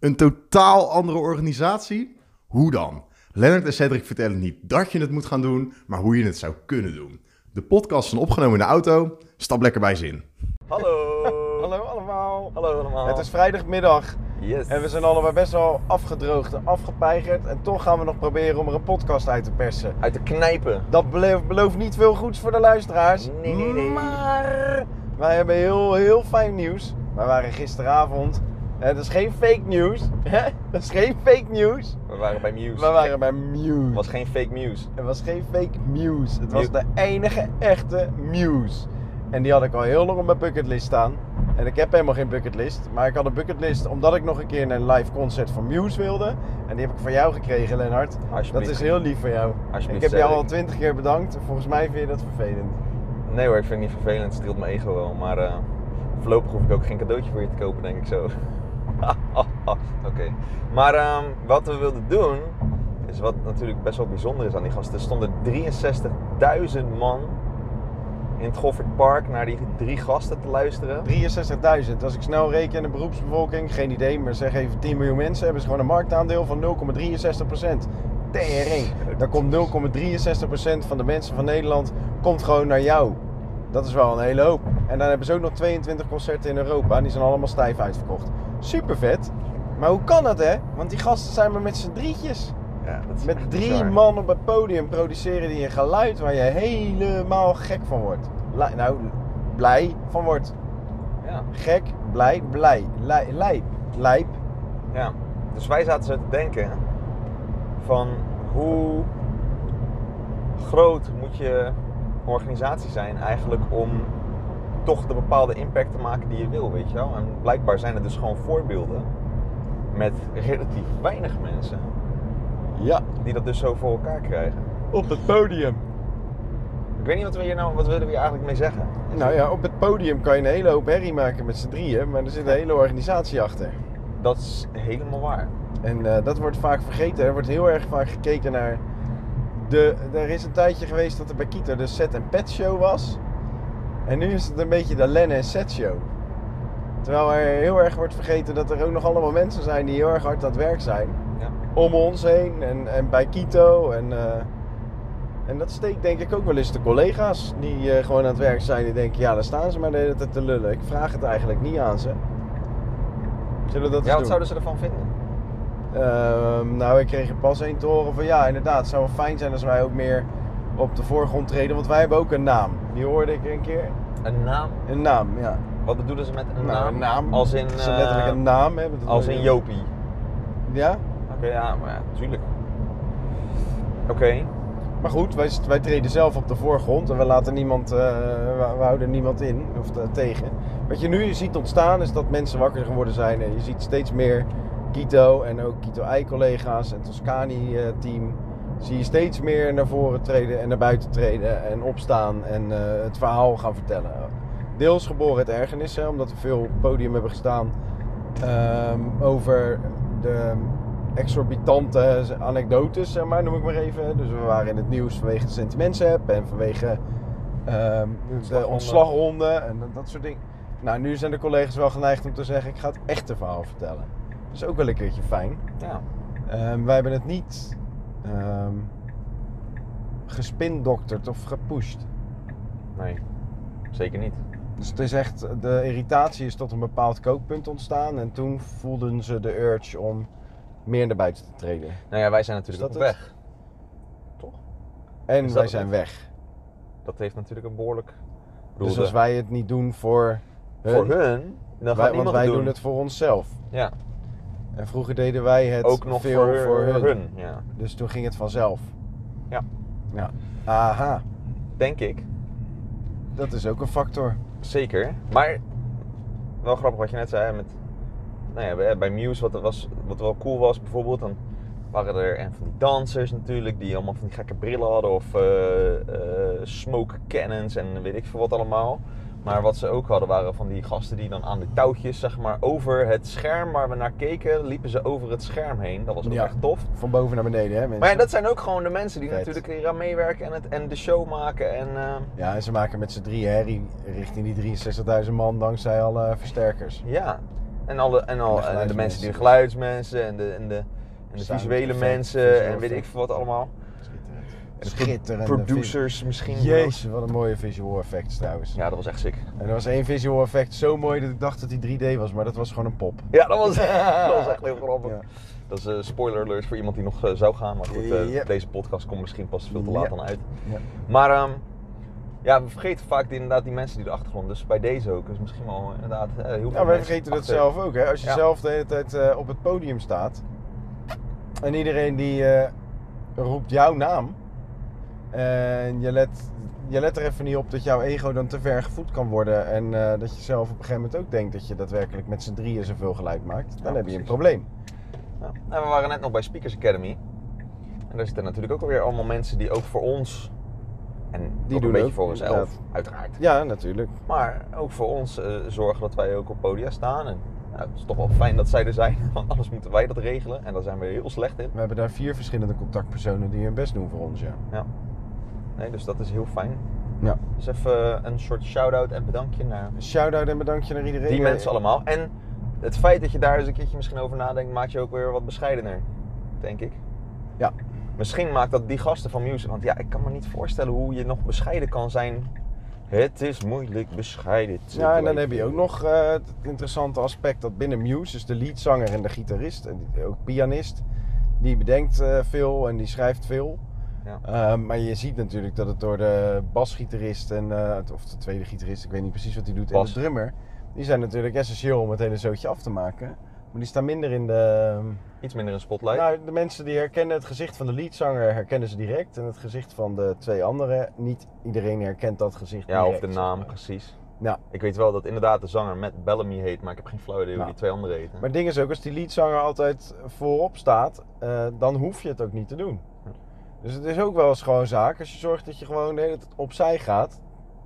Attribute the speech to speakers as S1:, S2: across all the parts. S1: een totaal andere organisatie? Hoe dan? Lennart en Cedric vertellen niet dat je het moet gaan doen, maar hoe je het zou kunnen doen. De podcast is opgenomen in de auto. Stap lekker bij zin.
S2: Hallo.
S3: Hallo allemaal.
S2: Hallo allemaal.
S3: Het is vrijdagmiddag
S2: Yes.
S3: en we zijn allebei best wel afgedroogd en afgepeigerd. En toch gaan we nog proberen om er een podcast uit te persen.
S2: Uit de knijpen.
S3: Dat bele- belooft niet veel goeds voor de luisteraars.
S2: Nee, nee, nee.
S3: Maar wij hebben heel, heel fijn nieuws. Wij waren gisteravond. hè, Dat is geen fake news. hè? Dat is geen fake news.
S2: We waren bij Muse.
S3: We waren bij
S2: Het was
S3: Muse.
S2: geen fake Muse.
S3: Het was geen fake news. Het was
S2: Muse.
S3: de enige echte Muse. En die had ik al heel lang op mijn bucketlist staan. En ik heb helemaal geen bucketlist. Maar ik had een bucketlist omdat ik nog een keer naar een live concert van Muse wilde. En die heb ik van jou gekregen, Lennart. Dat
S2: Alsjeblieft.
S3: is heel lief van jou.
S2: Alsjeblieft,
S3: Ik heb jou
S2: Cedric.
S3: al twintig keer bedankt. Volgens mij vind je dat vervelend.
S2: Nee hoor, ik vind het niet vervelend. Het streelt mijn ego wel. Maar eh, voorlopig hoef ik ook geen cadeautje voor je te kopen, denk ik zo. Oké. Maar ehm, wat we wilden doen, is wat natuurlijk best wel bijzonder is aan die gasten. Er stonden 63.000 man in het Goffert Park naar die drie gasten te luisteren.
S3: 63.000. Als ik snel reken in de beroepsbevolking, geen idee, maar zeg even 10 miljoen mensen, hebben ze gewoon een marktaandeel van 0,63 procent. Tering. Dan komt 0,63 van de mensen van Nederland komt gewoon naar jou. Dat is wel een hele hoop. En dan hebben ze ook nog 22 concerten in Europa en die zijn allemaal stijf uitverkocht. Super vet. Maar hoe kan dat hè? Want die gasten zijn maar met z'n drietjes.
S2: Ja, dat is
S3: Met
S2: echt
S3: drie
S2: bizar.
S3: man op het podium produceren die een geluid waar je helemaal gek van wordt. Li- nou, blij van wordt.
S2: Ja.
S3: Gek, blij, blij, lij- lijp, lijp.
S2: Ja, dus wij zaten zo te denken van hoe groot moet je organisatie zijn eigenlijk om toch de bepaalde impact te maken die je wil, weet je wel. En blijkbaar zijn er dus gewoon voorbeelden met relatief weinig mensen
S3: Ja,
S2: die dat dus zo voor elkaar krijgen.
S3: op het podium.
S2: Ik weet niet wat we hier nou, wat willen we hier eigenlijk mee zeggen?
S3: Nou ja, op het podium kan je een hele hoop herrie maken met z'n drieën, maar er zit een hele organisatie achter.
S2: Dat is helemaal waar.
S3: En eh, dat wordt vaak vergeten. Er wordt heel erg vaak gekeken naar. De, er is een tijdje geweest dat er bij Kito de set en pet show was. En nu is het een beetje de Len en set show. Terwijl er heel erg wordt vergeten dat er ook nog allemaal mensen zijn die heel erg hard aan het werk zijn.
S2: Ja.
S3: Om ons heen en, en bij Kito. En, eh, en dat steekt denk ik ook wel eens de collega's die eh, gewoon aan het werk zijn. Die denken, ja daar staan ze maar de hele tijd te lullen. Ik vraag het eigenlijk niet aan ze. Zullen we dat eens
S2: ja, wat
S3: doen?
S2: zouden ze ervan vinden?
S3: Ehm, nou, ik kreeg er pas één te horen van ja, inderdaad, het zou wel fijn zijn als wij ook meer op de voorgrond treden, want wij hebben ook een naam. Die hoorde ik een keer.
S2: Een naam?
S3: Een naam, ja.
S2: Wat bedoelen ze met een
S3: Nou,
S2: naam?
S3: een naam.
S2: Als in,
S3: Ze
S2: eh,
S3: letterlijk een naam hebben. dat
S2: als
S3: wil
S2: in
S3: je-
S2: Jopie.
S3: Ja.
S2: Oké, ja, maar ja, tuurlijk. Oké,
S3: Maar goed, wij, wij treden zelf op de voorgrond en we laten niemand, eh, we, we houden niemand in of te- tegen. Wat je nu ziet ontstaan is dat mensen wakker geworden zijn en je ziet steeds meer Kito en ook Kito Ei-collega's en Toscani-team. Zie je steeds meer naar voren treden en naar buiten treden en opstaan en eh, het verhaal gaan vertellen. Deels geboren uit ergernis, hè, omdat we veel op het podium hebben gestaan ehm, over de exorbitante anekdotes, zeg maar, noem ik maar even. Dus we waren in het nieuws vanwege de sentimentsapp en vanwege ehm, de
S2: Ontslagronde.
S3: ontslagronden en dat, dat soort dingen. Nou, nu zijn de collega's wel geneigd om te zeggen, ik ga het echte verhaal vertellen. Dat is ook wel een keertje fijn.
S2: ja.
S3: Ehm, wij hebben het niet ehm gespindokterd of gepusht.
S2: Nee, zeker niet.
S3: Dus het is echt, de irritatie is tot een bepaald kookpunt ontstaan. En toen voelden ze de urge om meer naar buiten te treden.
S2: Nou ja, wij zijn natuurlijk
S3: Is
S2: op
S3: Dus dat
S2: weg.
S3: En
S2: Is dat
S3: wij
S2: het?
S3: zijn weg.
S2: Dat heeft natuurlijk een behoorlijk... Ik bedoel,
S3: Dus
S2: de-
S3: als wij het niet doen voor hun,
S2: Voor hun, dan gaat
S3: wij, want
S2: niemand
S3: wij
S2: het
S3: doen.
S2: doen.
S3: het voor onszelf.
S2: Ja,
S3: En vroeger deden wij het
S2: ook nog
S3: veel
S2: voor, voor hun.
S3: hun.
S2: Ja.
S3: Dus toen ging het vanzelf.
S2: Ja.
S3: ja. Aha,
S2: Denk ik,
S3: dat is ook een factor.
S2: zeker. Maar, wel grappig wat je net zei, hè, met... Nou ja, bij- bij Muse, wat, er was, wat wel cool was bijvoorbeeld, dan waren er en van die dansers natuurlijk, die allemaal van die gekke brillen hadden of eh, eh, smoke cannons en weet ik veel wat allemaal. Maar wat ze ook hadden waren van die gasten die dan aan de touwtjes, zeg maar, over het scherm waar we naar keken, liepen ze over het scherm heen. Dat was ook
S3: Ja.
S2: echt tof.
S3: Van boven naar beneden, hè mensen?
S2: Maar ja, dat zijn ook gewoon de mensen die
S3: Vet.
S2: natuurlijk hier aan meewerken en, het, en de show maken. En eh,
S3: Ja, en ze maken met z'n drieën herrie richting die 63.000 man dankzij alle versterkers.
S2: ja, En, alle, en, al,
S3: En de
S2: en de, mensen die
S3: geluidsmensen.
S2: de geluidsmensen en de, en de, en de
S3: Sound
S2: visuele
S3: effect,
S2: mensen
S3: visual
S2: en weet ik
S3: effect.
S2: veel wat allemaal. En de pro-
S3: Schitterende
S2: Producers misschien.
S3: film. Jezus, wat een mooie visual effects trouwens.
S2: Ja, dat was echt sick.
S3: En er was één visual effect zo mooi dat ik dacht dat die 3D was, maar dat was gewoon een pop.
S2: Ja, dat was, dat was echt heel grappig.
S3: Ja.
S2: Dat is een spoiler alert voor iemand die nog eh, zou gaan. Maar goed, eh,
S3: Yep.
S2: deze podcast komt misschien pas veel te
S3: Yep.
S2: laat dan uit.
S3: Ja.
S2: Maar ehm, ja, we vergeten vaak die, inderdaad die mensen die de achtergrond. Dus bij deze ook. Dus misschien wel inderdaad eh, heel veel
S3: Ja, wij
S2: mensen
S3: vergeten dat
S2: achter.
S3: zelf ook. Hè? Als je
S2: Ja.
S3: zelf de hele tijd eh, op het podium staat en iedereen die eh, roept jouw naam en je let, je let er even niet op dat jouw ego dan te ver gevoed kan worden en eh, dat je zelf op een gegeven moment ook denkt dat je daadwerkelijk met z'n drieën zoveel geluid maakt, dan
S2: Ja,
S3: heb je een
S2: precies.
S3: probleem.
S2: Ja. En we waren net nog bij Speakers Academy. En daar zitten natuurlijk ook alweer allemaal mensen die ook voor ons... En
S3: Die
S2: ook
S3: doen
S2: een beetje
S3: ook,
S2: voor onszelf,
S3: inderdaad.
S2: uiteraard.
S3: Ja, natuurlijk.
S2: Maar ook voor ons eh, zorgen dat wij ook op podia staan. En nou, het is toch wel fijn dat zij er zijn, want anders moeten wij dat regelen. En daar zijn we heel slecht in.
S3: We hebben daar vier verschillende contactpersonen die hun best doen voor ons, ja.
S2: Ja. Nee, dus dat is heel fijn.
S3: ja.
S2: Dus even een soort shout-out en bedankje naar
S3: Een shout-out en bedankje naar iedereen.
S2: die mensen allemaal. En het feit dat je daar eens een keertje misschien over nadenkt, maakt je ook weer wat bescheidener, denk ik.
S3: Ja.
S2: Misschien maakt dat die gasten van Music, want ja, ik kan me niet voorstellen hoe je nog bescheiden kan zijn. Het is moeilijk bescheiden te
S3: Ja, en dan
S2: blijven.
S3: heb je ook nog eh, het interessante aspect dat binnen Muse, dus de leadzanger en de gitarist, en die- ook pianist, die bedenkt eh, veel en die schrijft veel.
S2: Ja.
S3: Eh, maar je ziet natuurlijk dat het door de basgitarist en, eh, of de tweede gitarist, ik weet niet precies wat hij doet,
S2: Bas.
S3: en de drummer, die zijn natuurlijk essentieel om het hele zootje af te maken. Maar die staan minder in de...
S2: Iets minder een spotlight.
S3: Nou, de mensen die herkennen het gezicht van de leadzanger herkennen ze direct. En het gezicht van de twee anderen, niet iedereen herkent dat gezicht
S2: ja, of
S3: direct,
S2: de
S3: zeg
S2: naam,
S3: maar.
S2: precies.
S3: Ja.
S2: Ik weet wel dat inderdaad de zanger Matt Bellamy heet, maar ik heb geen flauw idee hoe
S3: Nou.
S2: die twee anderen heten.
S3: Maar het ding is ook, als die leadzanger altijd voorop staat, eh, dan hoef je het ook niet te doen. Dus het is ook wel eens gewoon zaak, als je zorgt dat je gewoon de hele tijd opzij gaat,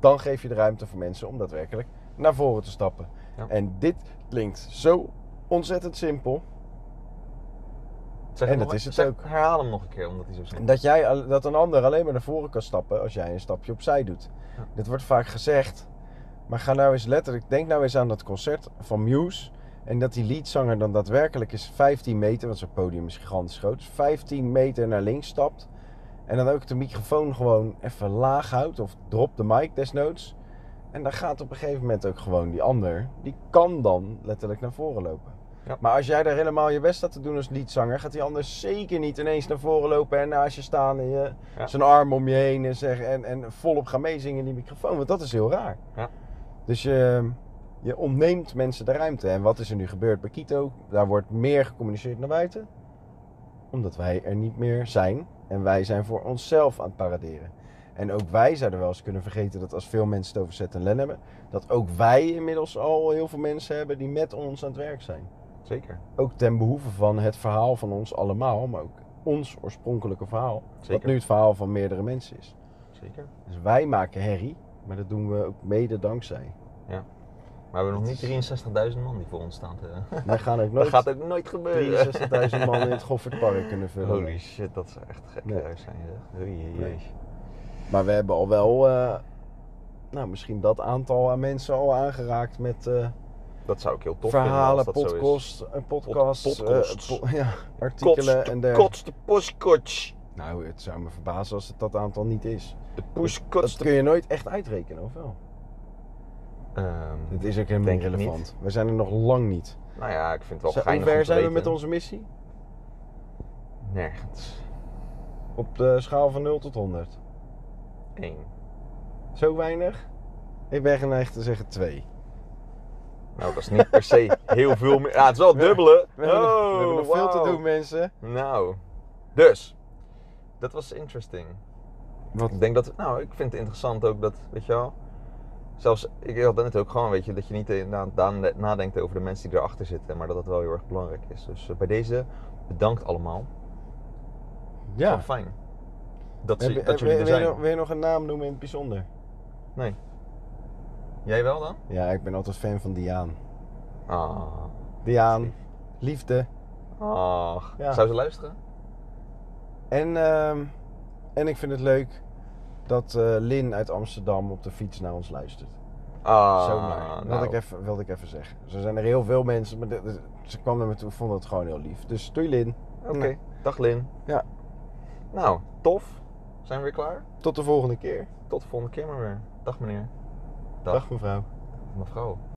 S3: dan geef je de ruimte voor mensen om daadwerkelijk naar voren te stappen.
S2: Ja.
S3: En dit klinkt zo ontzettend simpel,
S2: Zeg
S3: en
S2: hem
S3: dat
S2: nog-
S3: is het
S2: zeg-
S3: ook.
S2: Herhaal hem nog een keer, omdat hij zo simpel
S3: dat, jij, al- dat een ander alleen maar naar voren kan stappen als jij een stapje opzij doet.
S2: Ja.
S3: Dit wordt vaak gezegd, maar ga nou eens letterlijk, denk nou eens aan dat concert van Muse. En dat die leadzanger dan daadwerkelijk eens 15 meter, want zijn podium is gigantisch groot, 15 meter naar links stapt. En dan ook de microfoon gewoon even laag houdt of drop de mic desnoods. En dan gaat op een gegeven moment ook gewoon die ander, die kan dan letterlijk naar voren lopen.
S2: Ja.
S3: Maar als jij daar helemaal je best staat te doen als liedzanger, gaat die ander zeker niet ineens naar voren lopen en naast je staan en je,
S2: Ja.
S3: zijn arm om je heen en, zeggen, en, en volop gaan meezingen in die microfoon. Want dat is heel raar.
S2: Ja.
S3: Dus je, je ontneemt mensen de ruimte. En wat is er nu gebeurd bij Kito? Daar wordt meer gecommuniceerd naar buiten, omdat wij er niet meer zijn. En wij zijn voor onszelf aan het paraderen. En ook wij zouden wel eens kunnen vergeten dat als veel mensen het over Zet en Len hebben, dat ook wij inmiddels al heel veel mensen hebben die met ons aan het werk zijn.
S2: Zeker.
S3: Ook ten behoeve van het verhaal van ons allemaal, maar ook ons oorspronkelijke verhaal. Wat
S2: Zeker.
S3: nu het verhaal van meerdere mensen is.
S2: Zeker.
S3: Dus wij maken herrie, maar dat doen we ook mede dankzij.
S2: Maar we hebben nog niet 63.000 man die voor ons staan. te-
S3: Wij gaan ook
S2: Dat
S3: nooit
S2: gaat ook nooit gebeuren.
S3: 63.000 man in het Goffertpark kunnen vullen.
S2: Holy shit, dat zou echt gek
S3: Nee.
S2: huis zijn. zeg. Oei, oei, oei.
S3: Nee. Maar we hebben al wel, eh, nou misschien dat aantal aan mensen al aangeraakt met eh,
S2: Dat zou ik heel tof
S3: verhalen,
S2: vinden als dat
S3: podcast, eh, podcasts,
S2: Pod- podcasts.
S3: eh, po- ja,
S2: zo is.
S3: artikelen en
S2: de
S3: dergelijke.
S2: Kots de postkots.
S3: Nou, het zou me verbazen als het dat aantal niet is.
S2: De
S3: Dat
S2: poeskots.
S3: kun je nooit echt uitrekenen, of wel?
S2: Ehm,
S3: Het is ook helemaal
S2: Denk
S3: niet
S2: ik
S3: relevant. We zijn er nog lang niet.
S2: nou ja, ik vind het wel
S3: Zijn-
S2: geinig
S3: Hoe
S2: om
S3: ver
S2: te
S3: zijn we
S2: weten.
S3: met onze missie?
S2: Nergens.
S3: Op de schaal van 0 tot 100.
S2: Eén.
S3: Zo weinig? Ik ben geneigd te zeggen 2.
S2: Nou, dat is niet per se heel veel meer. Ja, het is wel het dubbele.
S3: We hebben, nog-
S2: Oh,
S3: we hebben nog veel te
S2: wauw.
S3: doen, mensen.
S2: Nou, dus. Dat was interesting.
S3: Wat?
S2: Ik denk dat, nou, ik vind het interessant ook dat, weet je wel. Zelfs, ik had net ook gewoon, weet je, dat je niet eh, na, na- nadenkt over de mensen die erachter zitten, maar dat dat wel heel erg belangrijk is. Dus eh, bij deze, bedankt allemaal. Ja.
S3: Ja.
S2: fijn. Dat, ze-
S3: Heb je-
S2: dat
S3: heb-
S2: jullie er
S3: wil, je
S2: zijn.
S3: nog, wil je nog een naam noemen in het bijzonder?
S2: Jij wel dan?
S3: Ja, ik ben altijd fan van Diaan.
S2: Ah.
S3: Diaan, liefde.
S2: Ach.
S3: Ja.
S2: Zou ze luisteren?
S3: En, ehm, en ik vind het leuk dat eh, Lin uit Amsterdam op de fiets naar ons luistert.
S2: Ah,
S3: Zomaar. Dat
S2: nou.
S3: ik even, wilde ik even zeggen. Zo zijn er heel veel mensen. Maar de- de- ze kwam naar me toe en vonden het gewoon heel lief. Dus doei Lin. Nou,
S2: Oké, dag Lin.
S3: Ja.
S2: Nou, tof. Zijn we weer klaar?
S3: Tot de volgende keer.
S2: Tot de volgende keer maar weer. Dag meneer.
S3: Dag mevrouw.
S2: Mevrouw.